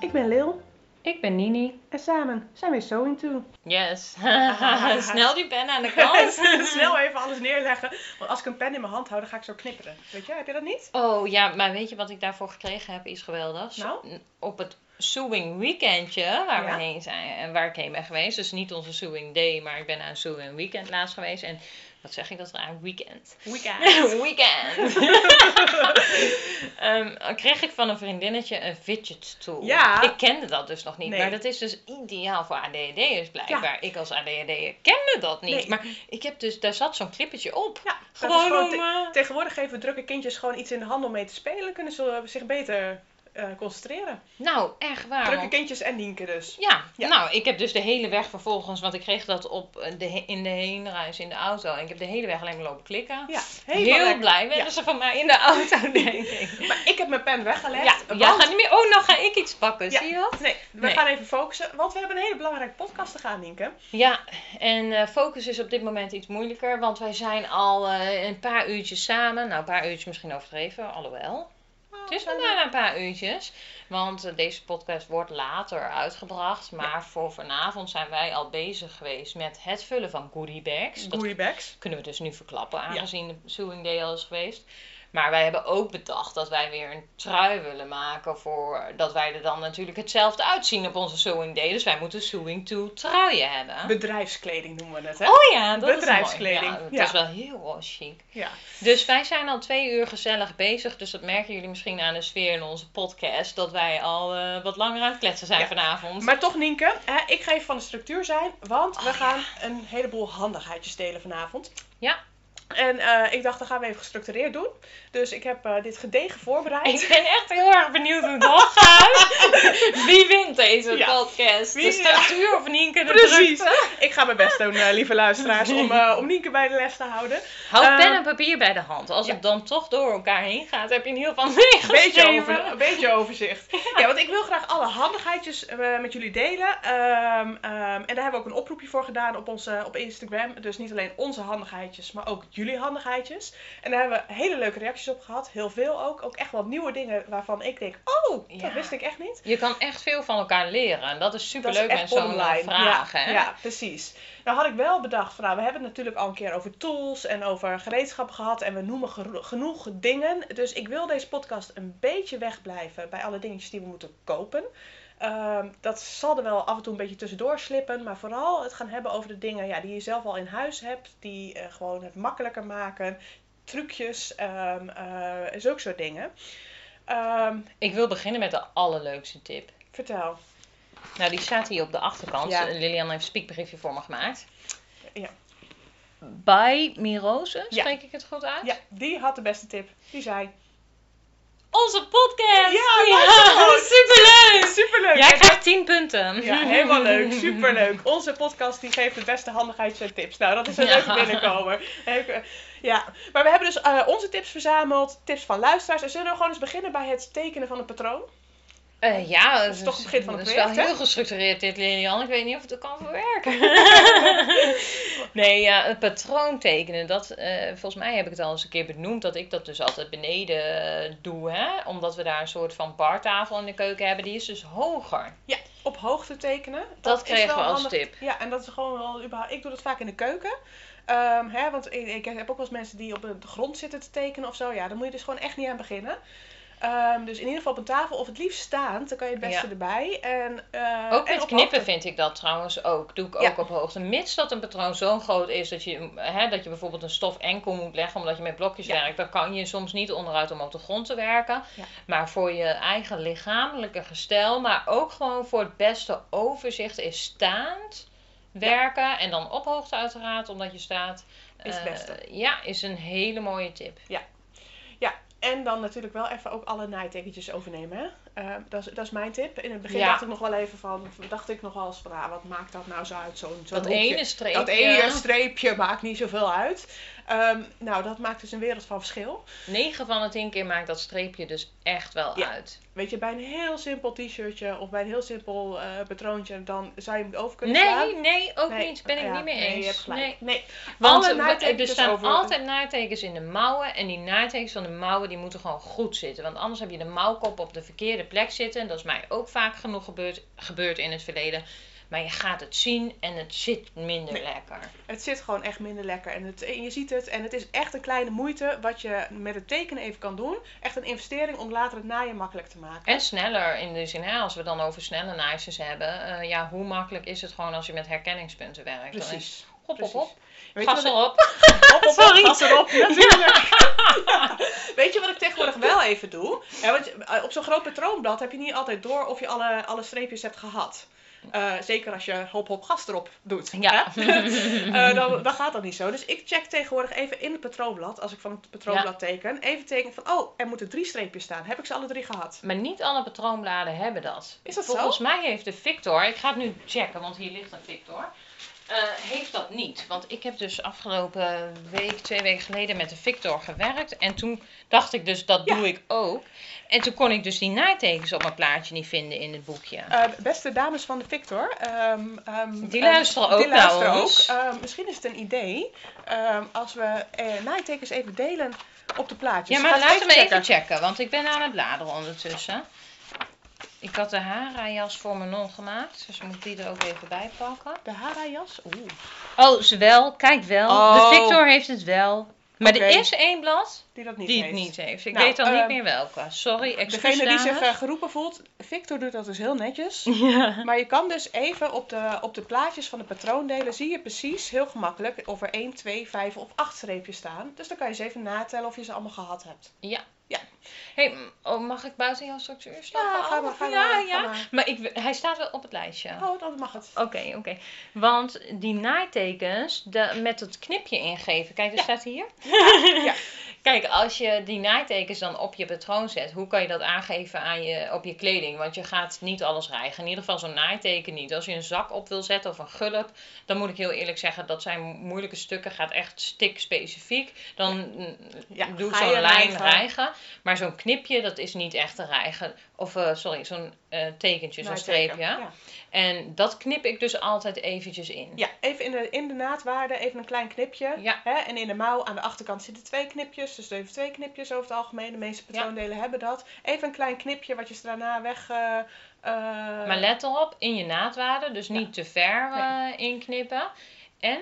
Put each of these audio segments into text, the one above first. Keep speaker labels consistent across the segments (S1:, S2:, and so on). S1: Ik ben Lil
S2: Ik ben Nini.
S1: en samen zijn we So Into.
S2: Yes. Snel die pen aan de kant.
S1: Snel even alles neerleggen, want als ik een pen in mijn hand hou, dan ga ik zo knipperen. Weet je, heb je dat niet?
S2: Oh ja, maar weet je wat ik daarvoor gekregen heb? Is geweldig.
S1: Nou?
S2: N- Op het Sewing Weekendje waar
S1: Ja.
S2: we heen zijn en waar ik heen ben geweest. Dus niet onze Sewing Day, maar ik ben aan een Sewing Weekend laatst geweest. En wat zeg ik dat aan? Weekend.
S1: Weekend.
S2: Weekend. Ehm, kreeg ik van een vriendinnetje een fidget tool.
S1: Ja.
S2: Ik kende dat dus nog niet.
S1: Nee.
S2: Maar dat is dus ideaal voor ADHD'ers blijkbaar. Ik als ADHD'er kende dat niet.
S1: Nee.
S2: Maar ik heb dus, daar zat zo'n clippetje op.
S1: Ja, dat is
S2: Gewoon,
S1: gewoon
S2: om...
S1: te-
S2: eh,
S1: Tegenwoordig geven we drukke kindjes gewoon iets in de hand om mee te spelen, kunnen ze eh, zich beter eh, concentreren.
S2: Nou, echt waar.
S1: drukke
S2: want-
S1: kindjes en dienken dus.
S2: Ja,
S1: Ja.
S2: nou, ik heb dus de hele weg vervolgens, want ik kreeg dat op eh, de, he- in de heenreis in de auto. En ik heb de hele weg alleen maar lopen klikken.
S1: Ja, helemaal
S2: Heel
S1: lekker.
S2: blij werden
S1: Ja.
S2: ze van mij in de auto, denk ik.
S1: Maar ik heb mijn pen weggelegd.
S2: Ja,
S1: want-
S2: jij gaat niet meer. Oh, nou ga ik iets pakken,
S1: Ja.
S2: zie je dat?
S1: Nee, we
S2: Nee.
S1: gaan even focussen, want we hebben een hele belangrijke podcast te gaan, Nienke.
S2: Ja, en eh, focus is op dit moment iets moeilijker, want wij zijn al eh, een paar uurtjes samen. Nou, een paar uurtjes misschien overdreven, alhoewel. Het is nog maar een paar uurtjes, want eh, deze podcast wordt later uitgebracht. Maar voor vanavond zijn wij al bezig geweest met het vullen van goodie bags. Dat
S1: Goeiebags.
S2: kunnen we dus nu verklappen, aangezien de Sewing Day al is geweest. Maar wij hebben ook bedacht dat wij weer een trui willen maken voor... Dat wij er dan natuurlijk hetzelfde uitzien op onze Sewing Day. Dus wij moeten Sewing 2 truien hebben.
S1: Bedrijfskleding noemen we het, hè?
S2: Oh ja, dat
S1: Bedrijfskleding,
S2: is mooi. Ja, dat
S1: ja.
S2: is wel heel chic.
S1: Ja.
S2: Dus wij zijn al twee uur gezellig bezig. Dus dat merken jullie misschien aan de sfeer in onze podcast. Dat wij al eh, wat langer aan het kletsen zijn
S1: Ja.
S2: vanavond.
S1: Maar toch, Nienke, hè, ik ga even van de structuur zijn, want we gaan een heleboel handigheidjes delen vanavond.
S2: Ja.
S1: En eh, ik dacht, dat gaan we even gestructureerd doen. Dus ik heb eh, dit gedegen voorbereid.
S2: Ik ben echt heel erg benieuwd hoe het nog gaat. Wie wint deze
S1: Ja.
S2: podcast?
S1: Wie-
S2: de statuur of Nienke de
S1: Precies.
S2: drukte?
S1: Ik ga mijn best doen, eh, lieve luisteraars, om, eh, om Nienke bij de les te houden.
S2: Houd
S1: Eh,
S2: pen en papier bij de hand. Als
S1: ja.
S2: het dan toch door elkaar heen gaat, heb je in ieder geval meegeschreven.
S1: Beetje, over, een beetje overzicht. Ja. want ik wil graag alle handigheidjes eh, met jullie delen. Ehm, ehm, en daar hebben we ook een oproepje voor gedaan op, onze, op Instagram. Dus niet alleen onze handigheidjes, maar ook jullie handigheidjes. En daar hebben we hele leuke reacties op gehad. Heel veel ook. Ook echt wat nieuwe dingen waarvan ik denk, oh, dat
S2: Ja.
S1: wist ik echt niet.
S2: Je kan echt veel van elkaar leren. En dat
S1: Dat
S2: is
S1: is
S2: superleuk
S1: echt
S2: met zo'n
S1: online.
S2: eh, vraag.
S1: ja,
S2: hè?
S1: ja, precies. Nou had ik wel bedacht, van, nou, we hebben het natuurlijk al een keer over tools en over gereedschappen gehad. En we noemen gero- genoeg dingen. Dus ik wil deze podcast een beetje wegblijven bij alle dingetjes die we moeten kopen. Ehm, dat zal er wel af en toe een beetje tussendoor slippen. Maar vooral het gaan hebben over de dingen ja, die je zelf al in huis hebt. Die eh, gewoon het makkelijker maken. Trucjes, ehm eh, zulke soort dingen. Ehm,
S2: Ik wil beginnen met de allerleukste tip.
S1: vertel.
S2: Nou, die staat hier op de achterkant.
S1: Ja.
S2: Lilian heeft een speakbriefje voor me gemaakt.
S1: Ja.
S2: Bij Mirose,
S1: Ja.
S2: spreek ik het goed uit?
S1: Ja, die had de beste tip. Die zei...
S2: Onze podcast!
S1: Ja, luister gewoon.
S2: superleuk!
S1: Superleuk!
S2: Jij
S1: En
S2: krijgt 10 punten.
S1: Ja, helemaal leuk. Superleuk. Onze podcast die geeft de beste handigheid en tips. Nou, dat is een
S2: Ja.
S1: leuke binnenkomer. Heb ik, eh, Ja, maar we hebben dus eh, onze tips verzameld. Tips van luisteraars. En zullen we gewoon eens beginnen bij het tekenen van een patroon?
S2: Eh, ja, dat
S1: is toch het begin van het
S2: dat is
S1: project,
S2: wel
S1: hè?
S2: heel gestructureerd dit, Lilian. Ik weet niet of het er kan verwerken. nee, ja, het patroon tekenen. Dat, eh, volgens mij heb ik het al eens een keer benoemd. Dat ik dat dus altijd beneden eh, doe. Hè? Omdat we daar een soort van bartafel in de keuken hebben. Die is dus hoger.
S1: Ja, op hoogte tekenen. Dat, is
S2: kregen
S1: wel
S2: we als
S1: handig.
S2: tip.
S1: Ja, en dat is gewoon wel überhaupt... Ik doe dat vaak in de keuken. Ehm, hè, want ik, ik heb ook wel eens mensen die op de grond zitten te tekenen of zo. Ja, daar moet je dus gewoon echt niet aan beginnen. Ehm, dus in ieder geval op een tafel of het liefst staand. Dan kan je het beste
S2: Ja.
S1: erbij. En, eh,
S2: Ook
S1: en
S2: met
S1: op
S2: knippen
S1: hoogte.
S2: vind ik dat trouwens ook. Doe ik
S1: Ja.
S2: ook op hoogte. Mits dat een patroon zo groot is dat je, hè, dat je bijvoorbeeld een stof enkel moet leggen omdat je met blokjes
S1: Ja.
S2: werkt. Dan kan je soms niet onderuit om op de grond te werken.
S1: Ja.
S2: Maar voor je eigen lichamelijke gestel, maar ook gewoon voor het beste overzicht is staand werken. En dan op hoogte uiteraard, omdat je staat.
S1: Is het
S2: eh,
S1: beste.
S2: ja, is een hele mooie tip.
S1: En dan natuurlijk wel even ook alle naaitekentjes overnemen. Hè? Eh, dat, is, dat is mijn tip. In het begin
S2: Ja.
S1: dacht ik nog wel even van, dacht ik nog wel eens van, ah, wat maakt dat nou zo uit? Zo'n zo'n
S2: dat
S1: hoekje.
S2: ene streepje.
S1: dat ene streepje maakt niet zoveel uit. Ehm, nou, dat maakt dus een wereld van verschil.
S2: 9 van de 10 keer maakt dat streepje dus echt wel
S1: Ja.
S2: uit.
S1: weet je, bij een heel simpel t-shirtje of bij een heel simpel eh, patroontje, dan zou je hem over kunnen slaan.
S2: Nee, nee, ook
S1: Nee,
S2: niet. Ben ik
S1: ja,
S2: niet mee
S1: nee,
S2: eens.
S1: je hebt gelijk.
S2: Nee.
S1: Nee.
S2: Want
S1: Alle
S2: we- er
S1: naaitekens
S2: staan
S1: over-
S2: altijd naaitekens in de mouwen. En die naaitekens van de mouwen die moeten gewoon goed zitten. Want anders heb je de mouwkop op de verkeerde plek zitten. En dat is mij ook vaak genoeg gebeurd, gebeurd in het verleden. Maar je gaat het zien en het zit minder
S1: Nee.
S2: lekker.
S1: Het zit gewoon echt minder lekker. En, het, en je ziet het. En het is echt een kleine moeite wat je met het tekenen even kan doen. Echt een investering om later het naaien makkelijk te maken.
S2: En sneller in de zin, hè, als we dan over snelle naaisjes hebben. eh, ja, hoe makkelijk is het gewoon als je met herkenningspunten werkt? Dan is,
S1: Precies.
S2: hop, hop,
S1: precies.
S2: hop.
S1: Weet je
S2: gas
S1: wat ik-
S2: erop.
S1: Hop, hop,
S2: Sorry.
S1: Sorry. Gas erop, natuurlijk. Ja. Weet je wat ik tegenwoordig wel even doe? Hè, want je- eh, op zo'n groot patroonblad heb je niet altijd door of je alle, alle streepjes hebt gehad. Eh, zeker als je hop hop gas erop doet.
S2: Ja.
S1: hè? Eh, dan, dan gaat dat niet zo. Dus ik check tegenwoordig even in het patroonblad, als ik van het patroonblad teken, even teken van, oh, er moeten drie streepjes staan. Heb ik ze alle drie gehad?
S2: Maar niet alle patroonbladen hebben dat.
S1: Is dat
S2: Volgens
S1: zo?
S2: mij heeft de Victor, ik ga het nu checken, want hier ligt een Victor. eh, heeft dat niet. Want ik heb dus afgelopen week, twee weken geleden met de Victor gewerkt. En toen dacht ik dus, dat
S1: Ja.
S2: doe ik ook. En toen kon ik dus die naaitekens op mijn plaatje niet vinden in het boekje.
S1: Eh, beste dames van de Victor. ehm, ehm,
S2: Die
S1: ehm,
S2: luisteren ook
S1: die
S2: naar
S1: luisteren
S2: ons.
S1: ook. Ehm, misschien is het een idee ehm, als we eh, naaitekens even delen op de plaatjes.
S2: ja, maar
S1: dus Ga het
S2: laten we even checken. Want ik ben aan het bladeren ondertussen. Ik had de hara-jas voor mijn non gemaakt. Dus moet ik die er ook even bij pakken.
S1: De Hara-jas? Oeh.
S2: Oh, ze wel. Kijk wel.
S1: Oh.
S2: De Victor heeft het wel. Maar
S1: Oké.
S2: er is één blad
S1: Die dat niet
S2: die het
S1: heeft.
S2: niet heeft. Ik
S1: Nou,
S2: weet al
S1: ehm,
S2: niet meer welke. Sorry, excuus
S1: Degene die zich eh,
S2: dames.
S1: geroepen voelt, Victor doet dat dus heel netjes.
S2: Ja.
S1: Maar je kan dus even op de, op de plaatjes van de patroondelen zie je precies heel gemakkelijk of er 1, 2, 5 of 8 streepjes staan. Dus dan kan je ze even natellen of je ze allemaal gehad hebt.
S2: Hey, m- oh, mag ik buiten jouw structuur staan?
S1: Ja, ga maar, ga maar.
S2: Oh, Ja,
S1: ga
S2: ja.
S1: maar.
S2: Maar ik, w- hij staat wel op het lijstje.
S1: Oh, dan mag het.
S2: Oké, oké. Want die naaitekens de, met het knipje ingeven. Kijk, dat staat hier.
S1: ja.
S2: Kijk, als je die naaitekens dan op je patroon zet, hoe kan je dat aangeven aan je, op je kleding? Want je gaat niet alles rijgen. In ieder geval zo'n naaiteken niet. Als je een zak op wil zetten of een gulp, dan moet ik heel eerlijk zeggen, dat zijn moeilijke stukken. Gaat echt stikspecifiek. Dan mm,
S1: Ja,
S2: doe ik
S1: ga je
S2: zo'n lijn
S1: rijgen.
S2: rijgen. Maar zo'n knipje, dat is niet echt een rijgen. Of, eh, sorry, zo'n eh, tekentje, zo'n
S1: Naaiteken,
S2: streepje. En dat knip ik dus altijd eventjes in.
S1: Ja, even in de, in de naadwaarde even een klein knipje.
S2: Ja.
S1: Hè? En in de mouw aan de achterkant zitten twee knipjes. Dus even twee knipjes over het algemeen. De meeste patroondelen hebben dat. Even een klein knipje wat je ze daarna weg... eh, eh,
S2: Maar let erop, in je naadwaarden, dus niet te ver eh, inknippen. En,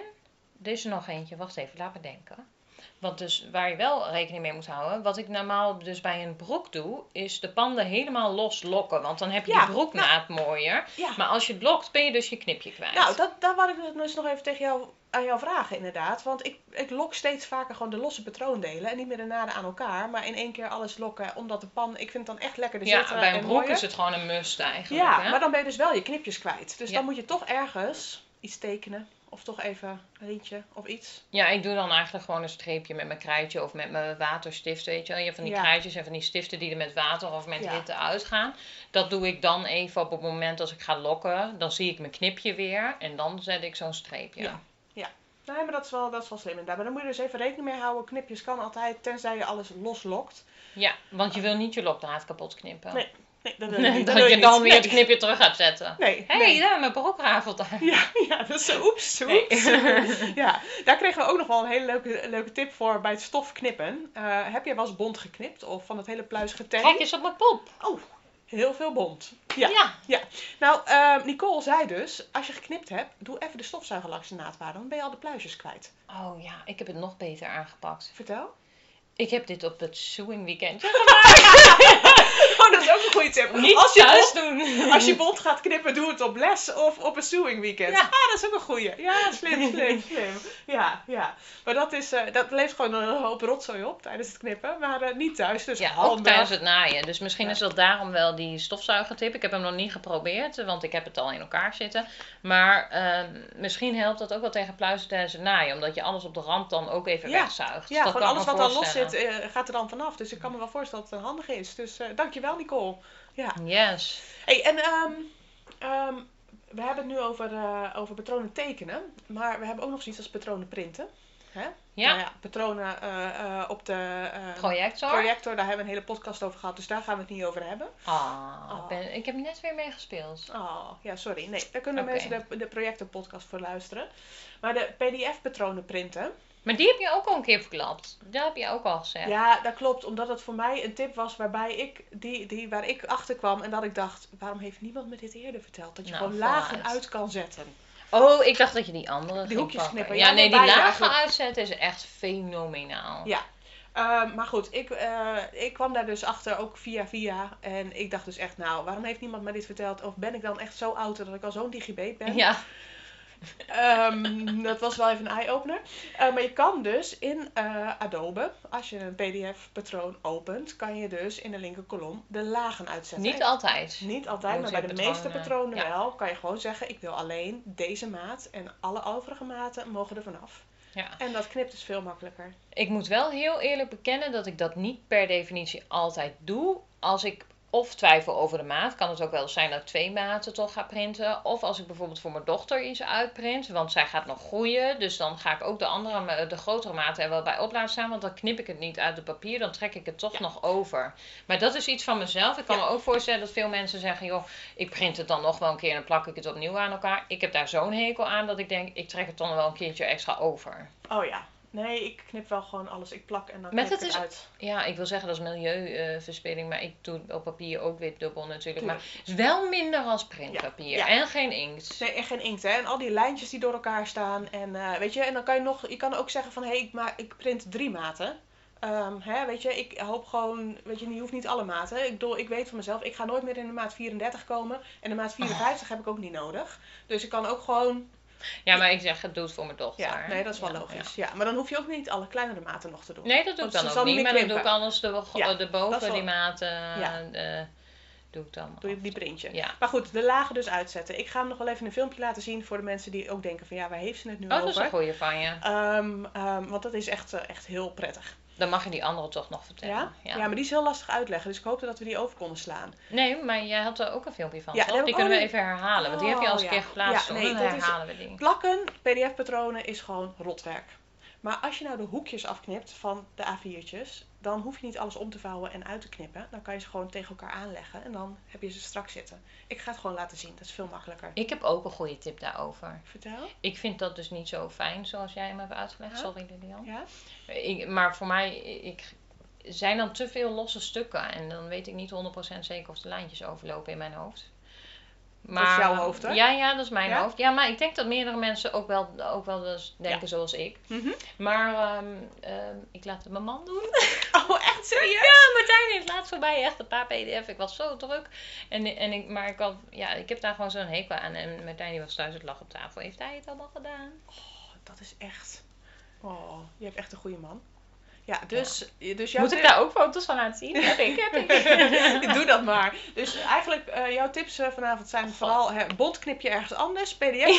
S2: er is er nog eentje, wacht even, laat me denken. Want dus waar je wel rekening mee moet houden, wat ik normaal dus bij een broek doe, is de panden helemaal los lokken. Want dan heb je
S1: Ja,
S2: die broeknaad mooier.
S1: ja.
S2: Maar als je het lokt, ben je dus je knipje kwijt.
S1: Nou, dat, daar wou ik dus nog even tegen jou, aan jou vragen inderdaad. Want ik, ik lok steeds vaker gewoon de losse patroondelen. En niet meer de naden aan elkaar. Maar in één keer alles lokken. Omdat de pan... Ik vind het dan echt lekkerder
S2: ja,
S1: zitten.
S2: bij
S1: en
S2: een broek
S1: eh, mooier.
S2: is het gewoon een must eigenlijk.
S1: Ja,
S2: hè?
S1: maar dan ben je dus wel je knipjes kwijt. Dus
S2: Ja.
S1: dan moet je toch ergens iets tekenen. Of toch even een liedje of iets.
S2: Ja, ik doe dan eigenlijk gewoon een streepje met mijn krijtje of met mijn waterstift, weet je wel. Je hebt van die
S1: Ja.
S2: krijtjes en van die stiften die er met water of met
S1: Ja.
S2: hitte uitgaan. Dat doe ik dan even op het moment als ik ga lokken. Dan zie ik mijn knipje weer en dan zet ik zo'n streepje.
S1: Ja. Nee, maar dat is wel, dat is wel slim inderdaad. Maar dan moet je dus even rekening mee houden. Knipjes kan altijd, tenzij je alles loslokt.
S2: Ja, want je wil niet je lokdraad kapot knippen.
S1: Nee, Nee, dat wil je
S2: Nee,
S1: niet.
S2: dat
S1: wil
S2: je dan
S1: niet.
S2: weer het knipje terug gaat zetten.
S1: Nee, nee,
S2: Hé, hey,
S1: nee.
S2: ja, mijn broek rafelt aan.
S1: Ja, ja, dat is zo oeps,
S2: Nee.
S1: oeps. Ja, daar kregen we ook nog wel een hele leuke, leuke tip voor bij het stof knippen. Eh, heb jij wel eens bont geknipt of van het hele pluis
S2: Kijk
S1: getankt?
S2: eens op mijn pop.
S1: Oh, heel veel bont. Ja.
S2: ja.
S1: Nou, eh, Nicole zei dus, als je geknipt hebt, doe even de stofzuiger langs de naadwaarde. Dan ben je al de pluisjes kwijt.
S2: Oh ja, ik heb het nog beter aangepakt.
S1: Vertel.
S2: Ik heb dit op het sewing weekend.
S1: Oh, dat is ook een goede tip.
S2: Niet
S1: als je
S2: thuis doen.
S1: Als je bont gaat knippen, doe het op les of op een sewing weekend.
S2: Ja.
S1: Ah, dat is ook een goeie. Ja, slim, slim, slim. Ja, ja. Maar dat, is, eh, dat levert gewoon een hoop rotzooi op tijdens het knippen. Maar eh, niet thuis, dus
S2: Ja, ook
S1: handig.
S2: tijdens het naaien. Dus misschien
S1: Ja.
S2: is dat daarom wel die stofzuigertip. Ik heb hem nog niet geprobeerd, want ik heb het al in elkaar zitten. Maar ehm, misschien helpt dat ook wel tegen pluizen tijdens het naaien. Omdat je alles op de rand dan ook even
S1: Ja.
S2: wegzuigt.
S1: Ja,
S2: dat
S1: gewoon alles wat al
S2: al
S1: los zit, eh, gaat er dan vanaf. Dus ik kan me wel voorstellen dat het handig is. Dus eh dankjewel, Nicole. Ja.
S2: Yes.
S1: Hey, en ehm, ehm, we hebben het nu over, eh over patronen tekenen. Maar we hebben ook nog zoiets als patronen printen. Hè?
S2: Ja.
S1: Nou ja, patronen eh, eh, op de eh,
S2: Projector.
S1: projector, daar hebben we een hele podcast over gehad, dus daar gaan we het niet over hebben.
S2: Ah,
S1: Ah.
S2: ik ben- ik heb net weer mee gespeeld.
S1: Oh, ja, sorry. Nee, daar kunnen
S2: Oké.
S1: mensen de, de projectenpodcast voor luisteren. Maar de PDF-patronen printen.
S2: Maar die heb je ook al een keer verklapt. Dat heb je ook al gezegd.
S1: Ja. dat klopt. Omdat het voor mij een tip was waarbij ik, die, die, waar ik achter kwam en dat ik dacht: waarom heeft niemand me dit eerder verteld? Dat je
S2: Nou,
S1: gewoon lagen
S2: vooruit.
S1: uit kan zetten.
S2: Oh, ik dacht dat je die andere ging
S1: hoekjes
S2: pakken.
S1: knippen,
S2: Ja,
S1: ja,
S2: nee, die
S1: nee, beide
S2: lagen
S1: eigenlijk.
S2: uitzetten is echt fenomenaal.
S1: Ja. Ehm, maar goed, ik, eh, ik kwam daar dus achter ook via via. En ik dacht dus echt: nou, waarom heeft niemand me dit verteld? Of ben ik dan echt zo oud dat ik al zo'n digibet ben?
S2: Ja.
S1: Ehm, dat was wel even een eye-opener. Eh, maar je kan dus in eh, Adobe, als je een PDF-patroon opent, kan je dus in de linker kolom de lagen uitzetten.
S2: niet altijd.
S1: Niet altijd,
S2: Moet
S1: maar bij
S2: je
S1: de
S2: patronen-
S1: meeste patronen
S2: ja.
S1: wel. Kan je gewoon zeggen, ik wil alleen deze maat en alle overige maten mogen er vanaf.
S2: Ja.
S1: En dat knipt dus veel makkelijker.
S2: Ik moet wel heel eerlijk bekennen dat ik dat niet per definitie altijd doe. Als ik of twijfel over de maat, kan het ook wel zijn dat ik twee maten toch ga printen. Of als ik bijvoorbeeld voor mijn dochter iets uitprint, want zij gaat nog groeien. Dus dan ga ik ook de, andere, ma- de grotere maten er wel bij op laten staan. Want dan knip ik het niet uit het papier, dan trek ik het toch
S1: Ja.
S2: nog over. Maar dat is iets van mezelf. Ik kan
S1: Ja.
S2: me ook voorstellen dat veel mensen zeggen, joh, ik print het dan nog wel een keer en dan plak ik het opnieuw aan elkaar. Ik heb daar zo'n hekel aan dat ik denk, ik trek het dan wel een keertje extra over.
S1: Oh ja. Nee, ik knip wel gewoon alles. Ik plak en dan knip
S2: Maar
S1: ik
S2: dat
S1: het
S2: is-
S1: uit.
S2: Ja, ik wil zeggen dat is milieuverspilling, maar ik doe het op papier ook weer dubbel natuurlijk.
S1: Tuurlijk.
S2: Maar het is wel minder als printpapier
S1: Ja,
S2: en geen inkt.
S1: Nee, en geen inkt, hè. En al die lijntjes die door elkaar staan. En, eh, weet je, en dan kan je nog... Je kan ook zeggen van... Hé, ik ik, ik print drie maten. Ehm, hè, weet je, ik hoop gewoon... Weet je, je hoeft niet alle maten. Ik, bedoel, ik weet van mezelf... Ik ga nooit meer in de maat 34 komen. En de
S2: Oh.
S1: maat 54 heb ik ook niet nodig. Dus ik kan ook gewoon...
S2: Ja, maar ik zeg, het doet voor mijn dochter.
S1: Ja, nee, dat is wel
S2: Ja,
S1: logisch. Ja. maar dan hoef je ook niet alle kleinere maten nog te doen.
S2: ja. Nee, dat doe
S1: Want
S2: ik
S1: ze
S2: dan
S1: zal
S2: ook
S1: niet
S2: niet, maar dan doe ik
S1: krimpen.
S2: anders de, wo-
S1: Ja,
S2: de
S1: dat is
S2: boven,
S1: wel-
S2: die maten,
S1: Ja.
S2: eh, doe ik dan.
S1: Doe je die printje.
S2: Ja.
S1: Maar goed, de lagen dus uitzetten. Ik ga hem nog wel even een filmpje laten zien voor de mensen die ook denken van... Ja, waar heeft ze het nu
S2: Oh, dat is
S1: over?
S2: een goeie van je.
S1: Ehm, ehm, want dat is echt, eh, echt heel prettig.
S2: Dan mag je die andere toch nog vertellen.
S1: Ja? Ja. maar die is heel lastig uitleggen. Dus ik hoopte dat we die over konden slaan.
S2: Nee, maar jij had er ook een filmpje van,
S1: Ja, daar
S2: toch?
S1: heb
S2: Die
S1: ik
S2: kunnen we
S1: ook
S2: even herhalen, want die heb je
S1: Oh,
S2: al eens een
S1: ja.
S2: keer geplaatst.
S1: Ja,
S2: hoor.
S1: nee,
S2: dan
S1: dat is-
S2: herhalen we die.
S1: Plakken, pdf-patronen is gewoon rotwerk. Maar als je nou de hoekjes afknipt van de A4'tjes, dan hoef je niet alles om te vouwen en uit te knippen. Dan kan je ze gewoon tegen elkaar aanleggen en dan heb je ze strak zitten. Ik ga het gewoon laten zien, dat is veel makkelijker.
S2: Ik heb ook een goede tip daarover.
S1: Vertel?
S2: Ik vind dat dus niet zo fijn zoals jij hem hebt uitgelegd.
S1: Ja.
S2: Sorry, Lilian.
S1: Ja?
S2: Ik, maar voor mij ik, zijn dan te veel losse stukken. En dan weet ik niet 100% zeker of de lijntjes overlopen in mijn hoofd. Maar,
S1: jouw hoofd, hè?
S2: Ja, ja, dat is mijn
S1: Ja?
S2: hoofd. Ja, maar ik denk dat meerdere mensen ook wel, ook wel eens denken zoals ik.
S1: Mhm.
S2: Maar ehm, ehm, ik laat het mijn man doen.
S1: Oh, echt serieus?
S2: Ja, Martijn heeft laatst voor mij echt een paar pdf. Ik was zo druk. En, en ik, maar ik, had, ja, ik heb daar gewoon zo'n hekel aan. En Martijn die was thuis het lag op tafel. Heeft hij het allemaal gedaan?
S1: Oh, dat is echt... Oh, je hebt echt een goede man. Ja, dus... dus jouw
S2: Moet ik
S1: tip-
S2: daar ook foto's van laten zien? Heb ik, heb ik.
S1: Doe dat maar. Dus eigenlijk, eh, jouw tips eh, vanavond zijn vooral hè, bont knip je ergens anders, pdf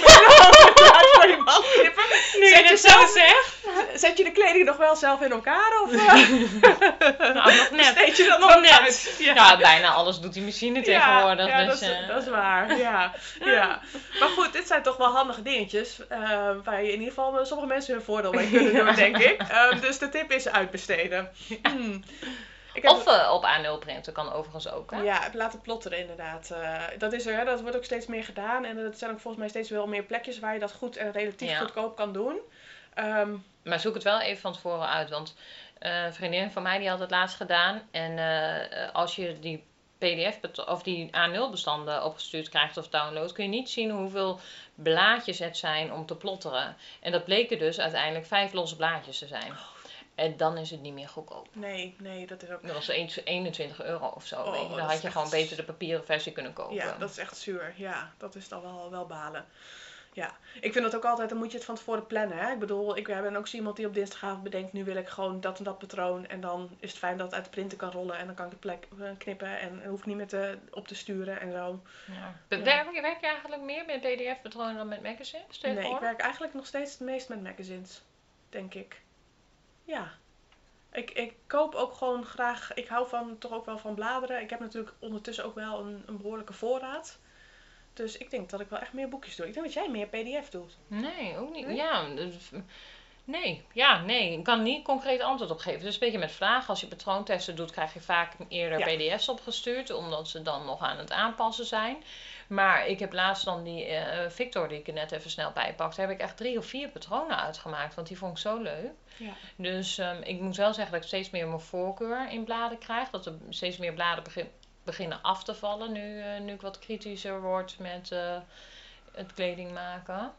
S1: voor je man knippen.
S2: Nu
S1: Zet
S2: je
S1: je
S2: het zo
S1: zelf-
S2: zegt.
S1: Zet je de kleding nog wel zelf in elkaar of eh,
S2: Nou, nog net.
S1: steed je dat
S2: Nog
S1: nog
S2: net.
S1: uit?
S2: Ja. bijna alles doet die machine tegenwoordig.
S1: ja,
S2: dus,
S1: dat, is,
S2: eh,
S1: dat is waar. Ja, ja. Maar goed, dit zijn toch wel handige dingetjes. eh, waar je in ieder geval eh, sommige mensen hun voordeel mee kunnen doen,
S2: Ja.
S1: denk ik. Eh, dus de tip is uitbesteden. Hmm. Ik heb-
S2: Of eh, op A0 printen kan overigens ook. Hè?
S1: Ja, laten plotteren inderdaad. Eh, dat is er, hè. dat wordt ook steeds meer gedaan. En er zijn ook volgens mij steeds wel meer plekjes waar je dat goed en relatief
S2: Ja.
S1: goedkoop kan doen. Ehm,
S2: Maar zoek het wel even van tevoren uit. Want eh, een vriendin van mij die had het laatst gedaan. En eh, eh, als je die PDF bet- of die A0 bestanden opgestuurd krijgt of download, kun je niet zien hoeveel blaadjes het zijn om te plotteren. En dat bleken dus uiteindelijk vijf losse blaadjes te
S1: Oh.
S2: zijn. En dan is het niet meer goedkoop.
S1: nee, nee, dat is ook...
S2: Dat was eens 21 euro of zo.
S1: Oh,
S2: weet je.
S1: dat
S2: Dan
S1: is
S2: had je
S1: echt-
S2: gewoon beter de papieren versie kunnen kopen.
S1: Ja, dat is echt zuur. Ja, dat is dan wel, wel balen. Ja, ik vind dat ook altijd, dan moet je het van tevoren plannen. Hè? Ik bedoel, ik ben ook zo iemand die op dinsdagavond bedenkt, nu wil ik gewoon dat en dat patroon. En dan is het fijn dat het uit de printer kan rollen en dan kan ik de plek eh, knippen en hoef ik niet meer te, op te sturen en zo.
S2: Ja.
S1: Ja.
S2: Werk, je- werk je eigenlijk meer met PDF-patronen dan met magazines
S1: Nee, ik
S2: tegenwoordig?
S1: werk eigenlijk nog steeds het meest met magazines, denk ik. Ja. Ik, ik koop ook gewoon graag, ik hou van, toch ook wel van bladeren. Ik heb natuurlijk ondertussen ook wel een, een behoorlijke voorraad. Dus ik denk dat ik wel echt meer boekjes doe. Ik denk dat jij meer PDF doet.
S2: Nee, ook niet.
S1: Nee?
S2: Ja, dus, Nee, ja, nee. Ik kan niet concreet antwoord op geven. Dus een beetje met vragen. Als je patroontesten doet, krijg je vaak eerder
S1: Ja.
S2: PDF's opgestuurd, omdat ze dan nog aan het aanpassen zijn. Maar ik heb laatst dan die eh, Victor, die ik er net even snel bijpakte, heb ik echt drie of vier patronen uitgemaakt, want die vond ik zo leuk.
S1: Ja.
S2: Dus ehm, ik moet wel zeggen dat ik steeds meer mijn voorkeur in bladen krijg. Dat er steeds meer bladen begin- beginnen af te vallen nu, eh, nu ik wat kritischer word met eh, het kleding maken.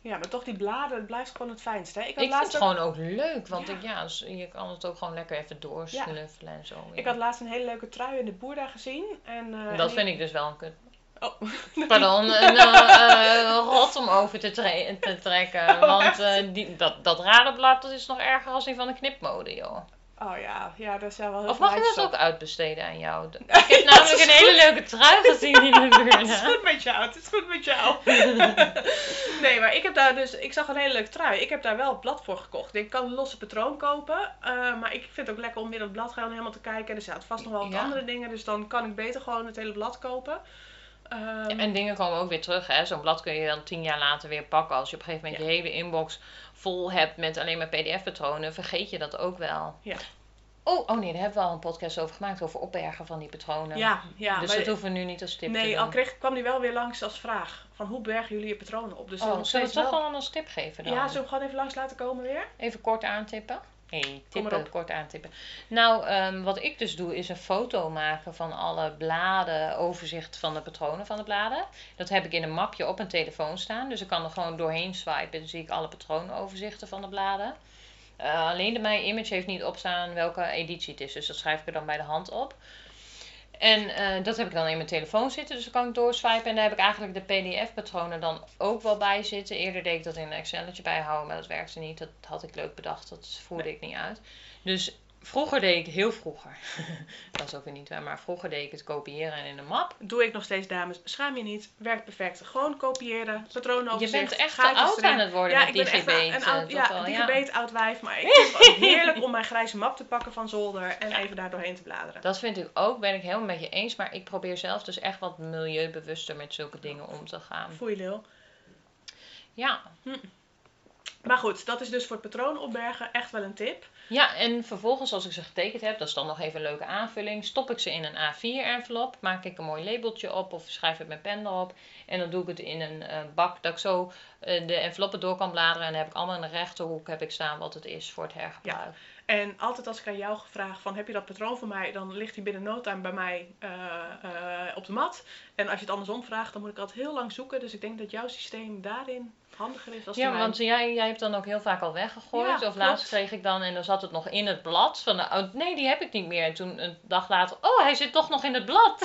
S1: Ja, maar toch die bladen, het blijft gewoon het fijnste. Hè? Ik
S2: Ik,
S1: had
S2: vind
S1: laatst
S2: het gewoon ook leuk, want
S1: Ja.
S2: Ik, ja, dus je kan het ook gewoon lekker even doorsnuffelen en zo.
S1: Ik had laatst een hele leuke trui in de Boerda gezien. En, eh,
S2: dat
S1: en
S2: vind ik dus wel een kut.
S1: Oh.
S2: Pardon, een eh, eh, rot om over te, tre- te trekken.
S1: Oh,
S2: want
S1: echt?
S2: eh, die, dat, dat radenblad dat is nog erger als die van de knipmode, joh.
S1: Oh ja, ja, daar zijn wel heel
S2: Of
S1: veel
S2: mag je
S1: lijntjes
S2: dat
S1: op.
S2: ook uitbesteden aan jou? Ik Nou, heb namelijk een hele leuke trui gezien in de
S1: Het is
S2: buurt.
S1: goed met jou, het is goed met jou. nee, maar ik heb daar dus, ik zag een hele leuke trui. Ik heb daar wel het blad voor gekocht. Ik kan een losse patroon kopen, eh, maar ik vind het ook lekker om weer het blad gewoon helemaal te kijken. Er zaten vast nog wel wat
S2: Ja.
S1: andere dingen, dus dan kan ik beter gewoon het hele blad kopen. Ehm,
S2: En dingen komen ook weer terug, hè. Zo'n blad kun je dan tien jaar later weer pakken. Als je op een gegeven moment je hele inbox vol hebt met alleen maar pdf-patronen, vergeet je dat ook wel.
S1: Ja.
S2: Oh, oh nee, daar hebben we al een podcast over gemaakt, over opbergen van die patronen.
S1: ja, ja.
S2: dus
S1: maar-
S2: dat hoeven we nu niet als tip te
S1: nee,
S2: doen.
S1: al kreeg, kwam die wel weer langs als vraag. Van hoe bergen jullie je patronen op? Dus
S2: Oh,
S1: dan nog
S2: zullen we
S1: steeds
S2: het toch
S1: wel.
S2: wel als tip geven dan?
S1: Ja, zullen we gewoon even langs laten komen weer?
S2: Even kort aantippen. Nee,
S1: maar
S2: tippen,
S1: op.
S2: kort aantippen. Nou, ehm, wat ik dus doe is een foto maken van alle bladen, overzicht van de patronen van de bladen. Dat heb ik in een mapje op mijn telefoon staan. Dus ik kan er gewoon doorheen swipen en dan zie ik alle patroonoverzichten van de bladen. Eh, alleen de mijn image heeft niet opstaan welke editie het is. Dus dat schrijf ik er dan bij de hand op. En eh, dat heb ik dan in mijn telefoon zitten, dus dan kan ik doorswipen. En daar heb ik eigenlijk de PDF-patronen dan ook wel bij zitten. Eerder deed ik dat in een Excelletje bijhouden, maar dat werkte niet. Dat had ik leuk bedacht, dat voerde ik niet uit. Dus vroeger deed ik, heel vroeger, dat is ook weer niet waar, maar vroeger deed ik het kopiëren en in een map.
S1: Doe ik nog steeds, dames. Schaam je niet. Werkt perfect. Gewoon kopiëren. Patronen
S2: Je
S1: overzicht.
S2: bent echt te
S1: gaatjes
S2: oud
S1: erin.
S2: aan het worden
S1: Ja,
S2: met
S1: ik
S2: die
S1: ben echt een,
S2: gebeet.
S1: een oud,
S2: ja,
S1: ja, digibeet oud wijf. Maar ik vind het heerlijk om mijn grijze map te pakken van zolder en even daar doorheen te bladeren.
S2: Dat vind ik ook, ben ik helemaal met je eens. Maar ik probeer zelf dus echt wat milieubewuster met zulke dingen om te gaan.
S1: Voel je lul.
S2: Ja,
S1: Maar goed, dat is dus voor het patroon opbergen echt wel een tip.
S2: Ja, en vervolgens als ik ze getekend heb, dat is dan nog even een leuke aanvulling, stop ik ze in een A4-envelop, maak ik een mooi labeltje op of schrijf het met pen erop. En dan doe ik het in een eh, bak dat ik zo eh, de enveloppen door kan bladeren en dan heb ik allemaal in de rechterhoek heb ik staan wat het is voor het hergebruik.
S1: En altijd als ik aan jou vraag van heb je dat patroon voor mij, dan ligt die binnen no time bij mij eh, eh, op de mat. En als je het andersom vraagt, dan moet ik altijd heel lang zoeken. Dus ik denk dat jouw systeem daarin handiger is als
S2: Ja,
S1: die mijn.
S2: want jij, jij hebt dan ook heel vaak al weggegooid.
S1: Ja,
S2: of
S1: klopt.
S2: laatst kreeg ik dan en dan zat het nog in het blad. Van, oh, nee, die heb ik niet meer. En toen een dag later, oh, hij zit toch nog in het blad.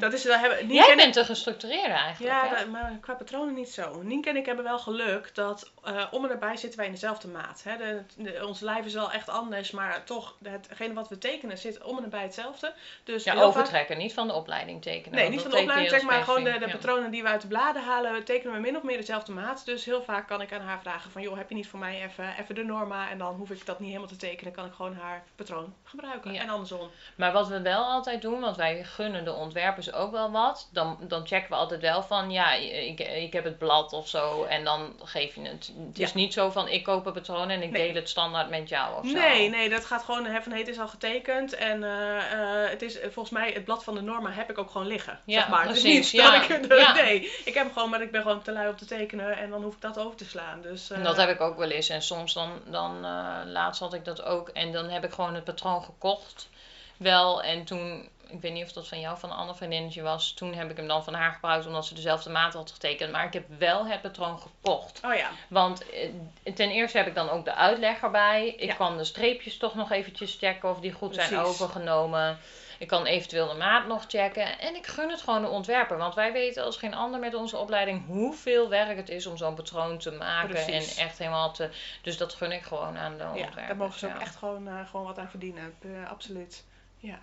S1: Dat is, dat hebben, niet
S2: Jij bent te gestructureerd eigenlijk.
S1: Ja,
S2: hè?
S1: dat- maar qua patronen niet zo. Nienke en ik hebben wel geluk dat eh, om en nabij zitten wij in dezelfde maat. Hè? De, de- ons lijf is wel echt anders, maar toch, hetgene wat we tekenen zit om en nabij hetzelfde. Dus
S2: Ja,
S1: heel vaak-
S2: overtrekken, niet van de opleiding tekenen.
S1: Nee,
S2: want
S1: niet
S2: dat
S1: van de opleiding,
S2: teken
S1: zeg
S2: je
S1: maar
S2: heel
S1: gewoon de, de
S2: specifiek, ja.
S1: patronen die we uit de bladen halen, tekenen we min of meer dezelfde maat. Dus heel vaak kan ik aan haar vragen van, joh, heb je niet voor mij even, even de norma? En dan hoef ik dat niet helemaal te tekenen, kan ik gewoon haar patroon gebruiken.
S2: Ja.
S1: En andersom.
S2: Maar wat we wel altijd doen, want wij gunnen de ontwerpers ook wel wat, dan, dan checken we altijd wel van ja, ik, ik heb het blad of zo en dan geef je het. Het is
S1: Ja.
S2: niet zo van ik koop een patroon en ik
S1: Nee.
S2: deel het standaard met jou of zo.
S1: Nee, nee, dat gaat gewoon, hè, van hey, het is al getekend en eh, eh, het is eh, volgens mij, het blad van de norma heb ik ook gewoon liggen.
S2: Ja,
S1: zeg maar. Dus
S2: precies,
S1: niet dat
S2: ja,
S1: ik, de-
S2: ja.
S1: Nee, ik heb hem gewoon, maar ik ben gewoon te lui om te tekenen en dan hoef ik dat over te slaan. Dus, eh,
S2: En dat heb ik ook wel eens. En soms dan, dan eh, laatst had ik dat ook. En dan heb ik gewoon het patroon gekocht. Wel, en toen, ik weet niet of dat van jou, van een ander vriendinnetje was. Toen heb ik hem dan van haar gebruikt, omdat ze dezelfde maat had getekend. Maar ik heb wel het patroon gekocht.
S1: Oh ja,
S2: Want eh, ten eerste heb ik dan ook de uitleg erbij. Ik
S1: Ja.
S2: kan de streepjes toch nog eventjes checken of die goed zijn
S1: Precies.
S2: overgenomen. Ik kan eventueel de maat nog checken. En ik gun het gewoon de ontwerper. Want wij weten als geen ander met onze opleiding hoeveel werk het is om zo'n patroon te maken.
S1: Precies.
S2: En echt helemaal te... Dus dat gun ik gewoon aan de ontwerper.
S1: ja daar mogen ze ook echt gewoon, eh, gewoon wat aan verdienen. Eh, absoluut. Ja.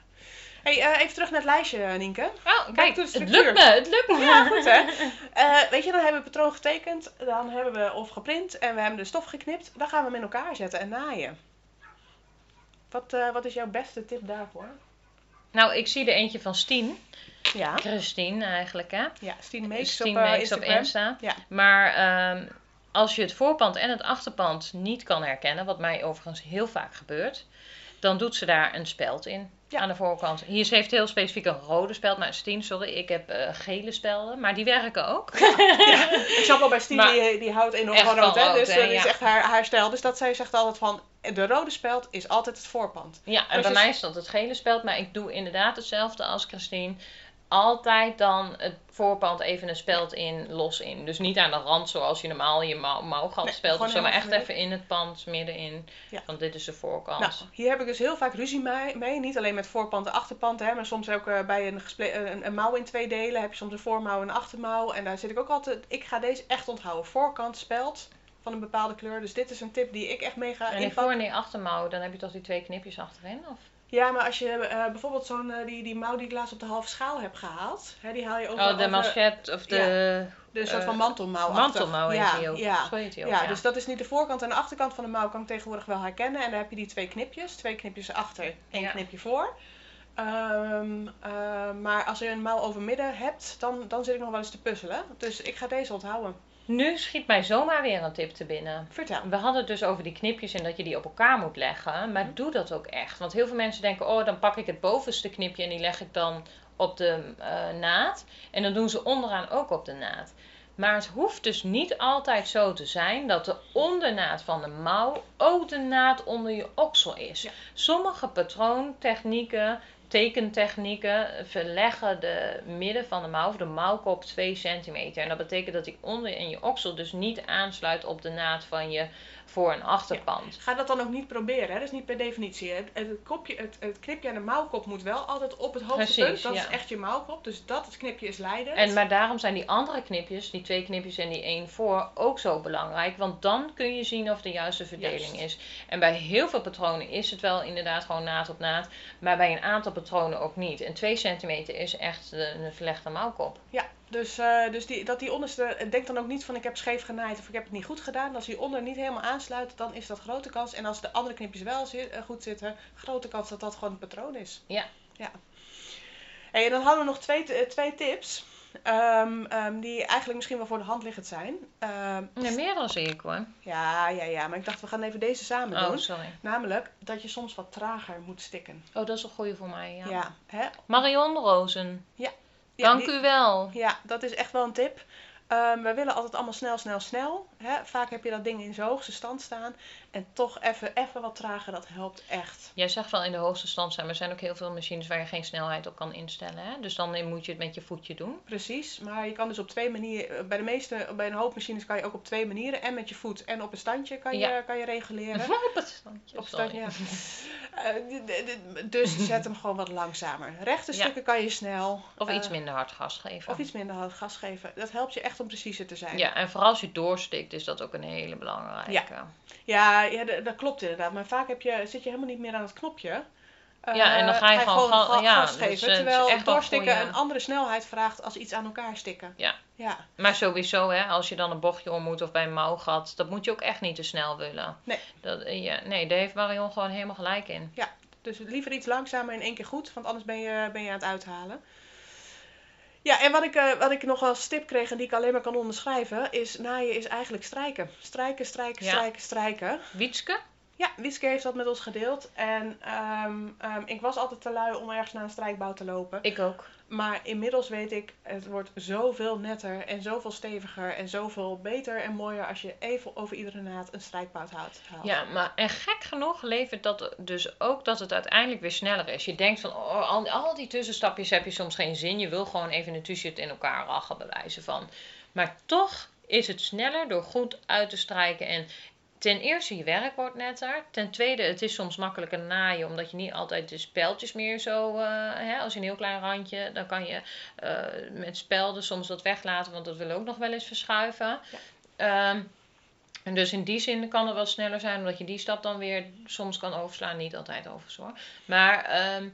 S1: Hey, eh, even terug naar het lijstje, Nienke.
S2: Oh,
S1: Back
S2: kijk,
S1: to
S2: het
S1: structuur.
S2: lukt me. Het lukt me.
S1: Ja, goed hè. Eh, weet je, dan hebben we het patroon getekend, dan hebben we of geprint en we hebben de stof geknipt. Dan gaan we hem in elkaar zetten en naaien. Wat, eh, wat is jouw beste tip daarvoor?
S2: Nou, ik zie er eentje van Stien.
S1: Ja.
S2: Christine eigenlijk, hè.
S1: Ja, Stine Meeks op
S2: Stien
S1: eh,
S2: Meeks op
S1: Instagram.
S2: Insta.
S1: Ja.
S2: Maar ehm, als je het voorpand en het achterpand niet kan herkennen, wat mij overigens heel vaak gebeurt, dan doet ze daar een speld in.
S1: Ja.
S2: Aan de voorkant. Hier ze heeft heel specifiek een rode speld, maar Stien, sorry, ik heb eh, gele spelden, maar die werken ook.
S1: Ik snap wel bij Stien,
S2: Maar-
S1: die, die houdt enorm
S2: Echt
S1: van rood.
S2: van
S1: Hè?
S2: rood,
S1: Dus
S2: hè,
S1: eh, dat is
S2: ja.
S1: echt haar, haar stijl. Dus dat zij zegt altijd van, de rode speld is altijd Dus het voorpand.
S2: Ja, en bij
S1: Precies.
S2: mij is dat het gele speld, maar ik doe inderdaad hetzelfde als Christine. Altijd dan het voorpand even een speld in, los in. Dus niet aan de rand zoals je normaal je mouw, mouwgat
S1: Nee,
S2: spelt of
S1: gewoon
S2: zo, maar echt
S1: helemaal
S2: even in het pand, middenin.
S1: Ja.
S2: Want dit is de voorkant.
S1: Nou, hier heb ik dus heel vaak ruzie mee. mee. Niet alleen met voorpand en achterpand, hè, maar soms ook eh, bij een, gesple- een, een mouw in twee delen. Heb je soms een voormouw en een achtermouw. En daar zit ik ook altijd... Ik ga deze echt onthouden. Voorkant speld van een bepaalde kleur. Dus dit is een tip die eh, ik echt mee ga
S2: en die
S1: inpakken.
S2: voor- en die achtermouw, dan heb je toch die twee knipjes achterin? Of?
S1: Ja, maar als je eh, bijvoorbeeld zo'n eh, die, die mouw die ik laatst op de halve schaal heb gehaald. Hè, die haal je over,
S2: Oh, de
S1: over
S2: manchet of de
S1: de soort
S2: eh,
S1: van mantelmouw.
S2: mantelmouw heet
S1: ja, Nou,
S2: die ook.
S1: Ja,
S2: Zo heet die
S1: ja,
S2: ook, ja.
S1: dus dat is niet de voorkant en de achterkant van de mouw kan ik tegenwoordig wel herkennen. En dan heb je die twee knipjes. Twee knipjes achter, één
S2: Ja.
S1: knipje voor. Ehm, ehm, maar als je een mouw over midden hebt, dan, dan zit ik nog wel eens te puzzelen. Dus ik ga deze onthouden.
S2: Nu schiet mij zomaar weer een tip te binnen.
S1: Vertel.
S2: We hadden het dus over die knipjes en dat je die op elkaar moet leggen. Maar doe dat ook echt. Want heel veel mensen denken, oh, dan pak ik het bovenste knipje en die leg ik dan op de eh, naad. En dan doen ze onderaan ook op de naad. Maar het hoeft dus niet altijd zo te zijn dat de ondernaad van de mouw ook de naad onder je oksel is.
S1: Ja.
S2: Sommige patroontechnieken, tekentechnieken verleggen de midden van de mouw of de mouwkop 2 centimeter. En dat betekent dat die onder in je oksel dus niet aansluit op de naad van je voor- en achterpand.
S1: Ga dat dan ook niet proberen, hè? dat is niet per definitie. Het, het, kopje, het, het knipje aan de mouwkop moet wel altijd op het hoogste punt.
S2: Precies,
S1: Dat
S2: ja.
S1: is echt je mouwkop, dus dat het knipje is leidend.
S2: En maar daarom zijn die andere knipjes, die twee knipjes en die één voor, ook zo belangrijk. Want dan kun je zien of de juiste verdeling
S1: Juist.
S2: is. En bij heel veel patronen is het wel inderdaad gewoon naad op naad. Maar bij een aantal patronen ook niet. En 2 centimeter is echt de- een verlegde mouwkop.
S1: Ja, dus, eh, dus die, dat die onderste, denk dan ook niet van ik heb scheef genaaid of ik heb het niet goed gedaan. Als die onder niet helemaal aansluit, dan is dat grote kans. En als de andere knipjes wel zi- eh, goed zitten, grote kans dat dat gewoon het patroon is.
S2: Ja.
S1: ja. Hey, en dan hadden we nog twee, t- eh, twee tips, ehm, ehm, die eigenlijk misschien wel voor de hand liggend zijn. Ehm,
S2: Nee, meerdere zie ik hoor.
S1: ja, ja, ja, maar ik dacht we gaan even deze samen
S2: Oh,
S1: doen.
S2: sorry.
S1: Namelijk dat je soms wat trager moet stikken.
S2: Oh, dat is een goeie voor mij. Ja.
S1: Ja, hè?
S2: Marion Rozen,
S1: Ja,
S2: dank
S1: die-
S2: u wel.
S1: Ja, dat is echt wel een tip. Ehm, we willen altijd allemaal snel, snel, snel. Hè? Vaak heb je dat ding in zijn hoogste stand staan. En toch even, even wat trager, dat helpt echt.
S2: Jij zegt wel in de hoogste stand zijn, maar er zijn ook heel veel machines waar je geen snelheid op kan instellen. Hè? Dus dan moet je het met je voetje doen.
S1: Precies, maar je kan dus op twee manieren, bij de meeste, bij een hoop machines kan je ook op twee manieren. En met je voet en op een standje kan je,
S2: Ja.
S1: kan je reguleren.
S2: op het standje.
S1: Op
S2: sorry.
S1: stand, ja. Eh, d- d- d- dus zet hem gewoon wat langzamer. Rechte
S2: Ja.
S1: stukken kan je snel.
S2: Of
S1: eh,
S2: iets minder hard gas geven.
S1: Of iets minder hard gas geven. Dat helpt je echt om preciezer te zijn.
S2: Ja, en vooral als je doorstikt is dat ook een hele belangrijke. Ja,
S1: Ja, ja d- dat klopt inderdaad. Maar vaak heb je, zit je helemaal niet meer aan het knopje.
S2: Ja, en dan
S1: Eh,
S2: ga je gewoon ga-
S1: ga-
S2: ja,
S1: gas
S2: dus,
S1: geven.
S2: eh, het is
S1: terwijl
S2: echt wel
S1: doorstikken
S2: goeie-
S1: een andere snelheid vraagt als iets aan elkaar stikken.
S2: Ja.
S1: Ja,
S2: Maar sowieso, hè, als je dan een bochtje om moet of bij een mouwgat, dat moet je ook echt niet te snel willen.
S1: Nee.
S2: Dat, eh, ja, nee, daar heeft Marion gewoon helemaal gelijk in.
S1: dus liever iets langzamer in één keer goed, want anders ben je, ben je aan het uithalen. Ja, en wat ik, eh, wat ik nog als tip kreeg en die ik alleen maar kan onderschrijven, is naaien is eigenlijk strijken. Strijken, strijken,
S2: Ja.
S1: strijken, strijken.
S2: Wietske?
S1: Ja, Wiske heeft dat met ons gedeeld. En ehm, ehm, ik was altijd te lui om ergens naar een strijkbouw te lopen.
S2: Ik ook.
S1: Maar inmiddels weet ik, het wordt zoveel netter en zoveel steviger en zoveel beter en mooier als je even over iedere naad een strijkbout houdt. haalt.
S2: Ja, maar en gek genoeg levert dat dus ook dat het uiteindelijk weer sneller is. Je denkt van, oh, al, al die tussenstapjes heb je soms geen zin. Je wil gewoon even een t-shirt in elkaar rachen, bij wijze van. Maar toch is het sneller door goed uit te strijken. En ten eerste, je werk wordt netter. Ten tweede, het is soms makkelijker naaien, omdat je niet altijd de speldjes meer zo... eh, hè, als je een heel klein randje, dan kan je eh, met spelden soms dat weglaten, want dat wil ook nog wel eens verschuiven. Ehm, en dus in die zin kan het wel sneller zijn, omdat je die stap dan weer soms kan overslaan. Niet altijd overigens hoor. Maar, ehm,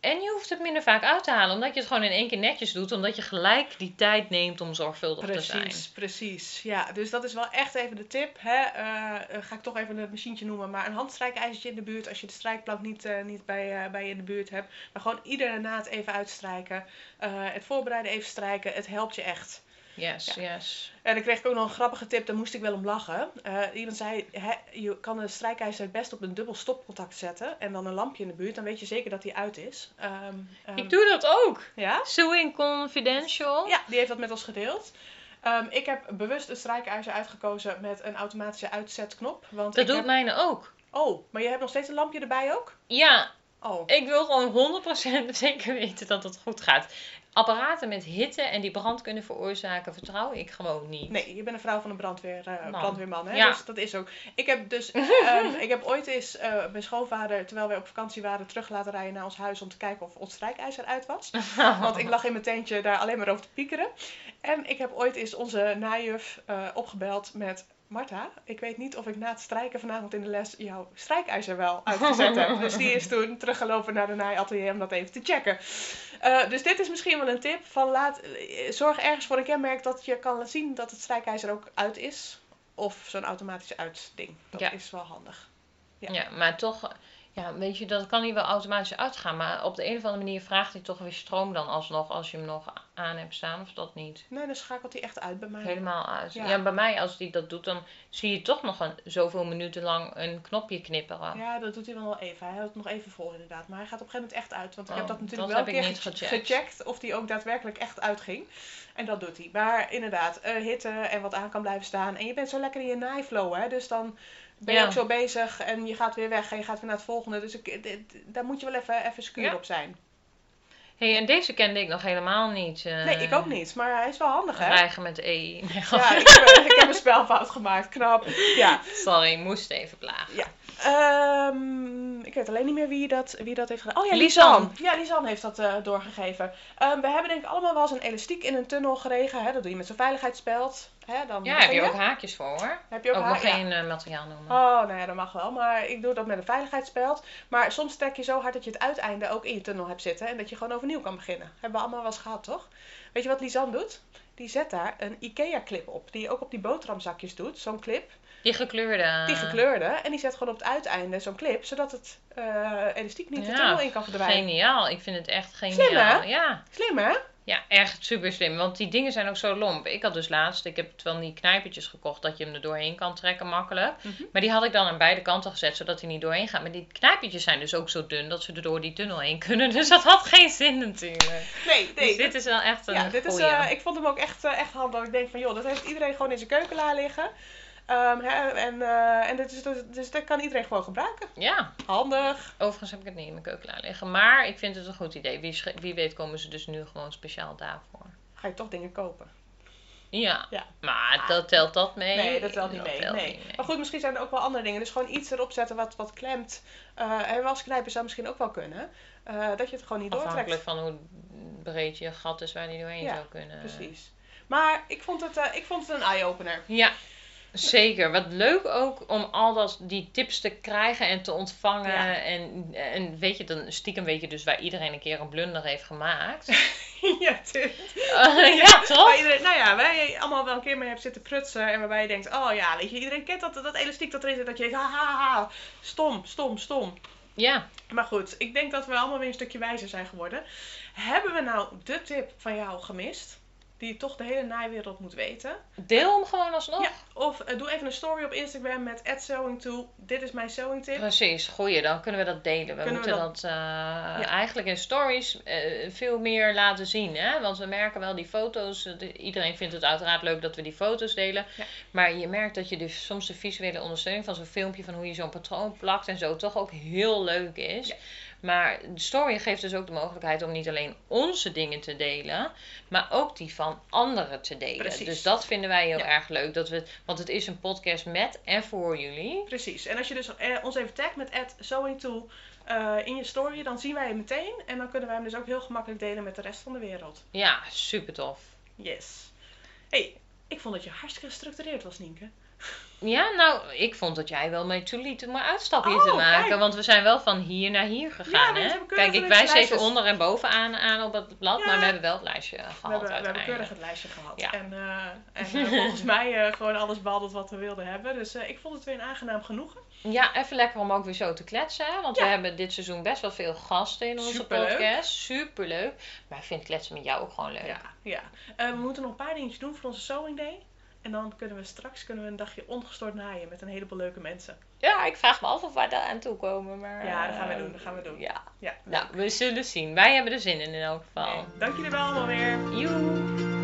S2: en je hoeft het minder vaak uit te halen, omdat je het gewoon in één keer netjes doet. Omdat je gelijk die tijd neemt om zorgvuldig te zijn.
S1: Precies, precies. Ja, dus dat is wel echt even de tip. Hè? Eh, eh, ga ik toch even het machientje noemen. Maar een handstrijkijzertje in de buurt als je de strijkplank niet, eh, niet bij, eh, bij je in de buurt hebt. Maar gewoon iedere naad even uitstrijken. Eh, het voorbereiden even strijken. Het helpt je echt.
S2: Yes, yes.
S1: En dan kreeg ik ook nog een grappige tip, daar moest ik wel om lachen. Eh, iemand zei, hè, je kan de strijkijzer het best op een dubbel stopcontact zetten en dan een lampje in de buurt, dan weet je zeker dat die uit is. Ehm, ehm,
S2: Ik doe dat ook.
S1: Ja?
S2: Sewing Confidential.
S1: ja, die heeft dat met ons gedeeld. Ehm, ik heb bewust een strijkijzer uitgekozen met een automatische uitzetknop. Want
S2: Dat nou-
S1: ik
S2: doet
S1: heb-
S2: mijne ook.
S1: Oh, maar je hebt nog steeds een lampje erbij ook?
S2: Ja,
S1: Oh,
S2: ik wil gewoon 100% zeker weten dat het goed gaat. Apparaten met hitte en die brand kunnen veroorzaken, vertrouw ik gewoon niet.
S1: nee, je bent een vrouw van een brandweer, eh,
S2: Man.
S1: brandweerman, hè?
S2: Ja.
S1: Dus dat is ook. Ik heb dus, ehm, ik heb ooit eens eh, mijn schoonvader, terwijl wij op vakantie waren, terug laten rijden naar ons huis om te kijken of ons strijkijzer uit was. Want ik lag in mijn tentje daar alleen maar over te piekeren. En ik heb ooit eens onze najuf eh, opgebeld met... Marta, ik weet niet of ik na het strijken vanavond in de les jouw strijkijzer wel uitgezet heb. Dus die is toen teruggelopen naar de naaiatelier om dat even te checken. Eh, dus dit is misschien wel een tip van laat, eh, zorg ergens voor een kenmerk dat je kan laten zien dat het strijkijzer ook uit is. Of zo'n automatisch uitding. Dat
S2: Ja.
S1: is wel handig.
S2: Ja. maar toch, ja, weet je, dat kan niet wel automatisch uitgaan. Maar op de een of andere manier vraagt hij toch weer stroom dan alsnog, als je hem nog aan hebt staan of dat niet.
S1: Nee, dan schakelt hij echt uit bij mij.
S2: Helemaal uit.
S1: Mm. Ja.
S2: Ja. bij mij, als die dat doet, dan zie je toch nog een, zoveel minuten lang een knopje knipperen.
S1: Ja, dat doet hij dan wel even. Hij houdt het nog even vol inderdaad. Maar hij gaat op een gegeven moment echt uit. Want ik
S2: Oh,
S1: heb dat natuurlijk
S2: dat
S1: wel
S2: heb
S1: een
S2: ik
S1: keer
S2: niet
S1: ge-
S2: gecheckt.
S1: of die ook daadwerkelijk echt uitging. En dat doet hij. Maar inderdaad, eh, hitte en wat aan kan blijven staan. En je bent zo lekker in je naaiflow, hè. Dus dan ben je
S2: Ja.
S1: ook zo bezig en je gaat weer weg en je gaat weer naar het volgende. Dus ik, dit- daar moet je wel even, even scuur
S2: Ja.
S1: op zijn.
S2: hey, en deze kende ik nog helemaal niet. eh,
S1: Nee, ik ook niet. Maar hij is wel handig, hè.
S2: Rijgen met E. Nee,
S1: Ja, ik heb, ik heb een spelfout gemaakt. Knap. Ja.
S2: Sorry, moest even plagen.
S1: Ehm, ik weet alleen niet meer wie dat, wie dat heeft gedaan. Oh ja,
S2: Lisanne.
S1: Lisanne. Ja, Lisanne heeft dat eh, doorgegeven. Ehm, we hebben denk ik allemaal wel eens een elastiek in een tunnel geregen. Hè? Dat doe je met zo'n veiligheidsspeld. Hè? Dan
S2: Ja,
S1: begin
S2: heb je ook haakjes voor hoor.
S1: Heb je ook
S2: Ook
S1: haar?
S2: nog
S1: Ja.
S2: geen eh, materiaal noemen.
S1: Oh, nou ja, dat mag wel. Maar ik doe dat met een veiligheidsspeld. Maar soms trek je zo hard dat je het uiteinde ook in je tunnel hebt zitten. En dat je gewoon overnieuw kan beginnen. Hebben we allemaal wel eens gehad, toch? Weet je wat Lisanne doet? Die zet daar een IKEA-clip op. Die je ook op die boterhamzakjes doet. Zo'n clip.
S2: Die gekleurde.
S1: Die gekleurde. En die zet gewoon op het uiteinde zo'n clip, zodat het eh, elastiek niet de
S2: Ja,
S1: tunnel in kan verdwijnen.
S2: Geniaal, ik vind het echt geniaal.
S1: Slim, hè?
S2: Ja.
S1: Slim hè?
S2: ja, echt super slim. Want die dingen zijn ook zo lomp. Ik had dus laatst, ik heb het wel die knijpertjes gekocht dat je hem er doorheen kan trekken makkelijk.
S1: Mhm.
S2: Maar die had ik dan aan beide kanten gezet zodat hij niet doorheen gaat. Maar die knijpertjes zijn dus ook zo dun dat ze er door die tunnel heen kunnen. Dus dat had geen zin natuurlijk.
S1: Nee, nee.
S2: dus dit is wel echt een
S1: ja, dit is,
S2: goeie.
S1: eh, ik vond hem ook echt, eh, echt handig. Ik denk van joh, dat heeft iedereen gewoon in zijn keukenlaar liggen. Ehm, hè, en eh, en dat is, dat, dus dat kan iedereen gewoon gebruiken.
S2: Ja.
S1: Handig.
S2: Overigens heb ik het niet in mijn keuken klaar liggen. Maar ik vind het een goed idee. Wie, sch- wie weet komen ze dus nu gewoon speciaal daarvoor.
S1: Ga je toch dingen kopen?
S2: Ja.
S1: Ja.
S2: Maar dat telt dat mee?
S1: Nee, dat telt niet mee.
S2: telt
S1: nee.
S2: niet
S1: Maar goed, misschien zijn er ook wel andere dingen. Dus gewoon iets erop zetten wat, wat klemt. Eh, en als knijpen zou misschien ook wel kunnen. Eh, dat je het gewoon niet
S2: Afhankelijk
S1: doortrekt.
S2: van hoe breed je gat is waar die doorheen
S1: Ja,
S2: zou kunnen.
S1: Precies. Maar ik vond het, eh, ik vond het een eye-opener.
S2: Ja, zeker. Wat leuk ook om al dat, die tips te krijgen en te ontvangen.
S1: Ja.
S2: En, en weet je, dan stiekem weet je dus waar iedereen een keer een blunder heeft gemaakt.
S1: ja, tuurlijk.
S2: ja,
S1: Waar
S2: toch?
S1: iedereen, nou ja, waar je allemaal wel een keer mee hebt zitten prutsen. En waarbij je denkt, oh ja, weet je, iedereen kent dat, dat elastiek dat erin zit. Dat je denkt, ha, ha, ha, stom, stom, stom.
S2: Ja.
S1: Maar goed, ik denk dat we allemaal weer een stukje wijzer zijn geworden. Hebben we nou de tip van jou gemist? Die toch de hele naaiwereld moet weten.
S2: Deel hem gewoon alsnog.
S1: Ja, of eh, doe even een story op Instagram met @sewingtool. Dit is mijn sewing tip.
S2: Precies, goeie. Dan kunnen we dat delen. We
S1: Kunnen we
S2: moeten
S1: dat-
S2: dat, eh, eigenlijk in stories eh, veel meer laten zien. Hè? Want we merken wel die foto's. eh, de- iedereen vindt het uiteraard leuk dat we die foto's delen.
S1: Ja.
S2: Maar je merkt dat je dus soms de visuele ondersteuning van zo'n filmpje... van hoe je zo'n patroon plakt en zo toch ook heel leuk is.
S1: Ja.
S2: Maar de story geeft dus ook de mogelijkheid om niet alleen onze dingen te delen... maar ook die van anderen te delen.
S1: Precies.
S2: Dus dat vinden wij heel
S1: Ja.
S2: erg leuk. Dat we, want het is een podcast met en voor jullie...
S1: Precies. En als je dus eh, ons even tagt met @sewingtool eh, in je story, dan zien wij hem meteen. En dan kunnen wij hem dus ook heel gemakkelijk delen met de rest van de wereld.
S2: Ja, super tof.
S1: Yes. hey, ik vond dat je hartstikke gestructureerd was, Nienke.
S2: Ja, nou, ik vond dat jij wel mee toeliet om een uitstapje
S1: Oh,
S2: te maken.
S1: kijk.
S2: Want we zijn wel van hier naar hier gegaan,
S1: nee,
S2: hè?
S1: ze hebben keurig
S2: Kijk, ik
S1: netjes
S2: wijs even
S1: lijstjes.
S2: onder en boven aan, aan op het blad.
S1: Ja.
S2: Maar we hebben wel het lijstje eh,
S1: We
S2: gehad
S1: hebben, we hebben keurig
S2: uiteindelijk.
S1: het lijstje gehad.
S2: Ja.
S1: En, eh, en eh, volgens mij eh, gewoon alles behandeld wat we wilden hebben. Dus eh, ik vond het weer een aangenaam genoegen.
S2: Ja, even lekker om ook weer zo te kletsen. hè, Want
S1: Ja.
S2: we hebben dit seizoen best wel veel gasten in onze
S1: Superleuk.
S2: podcast. Superleuk. Maar ik vind kletsen met jou ook gewoon leuk.
S1: Ja. ja. Eh, we moeten nog een paar dingetjes doen voor onze sewing day. En dan kunnen we straks kunnen we een dagje ongestoord naaien met een heleboel leuke mensen.
S2: Ja, ik vraag me af of wij daar aan toe komen. Maar,
S1: Ja, dat gaan we
S2: eh,
S1: doen, dat gaan we doen.
S2: Ja.
S1: Ja.
S2: Nou, we zullen zien. Wij hebben er zin in in elk geval.
S1: Dank jullie wel allemaal weer.
S2: Joe!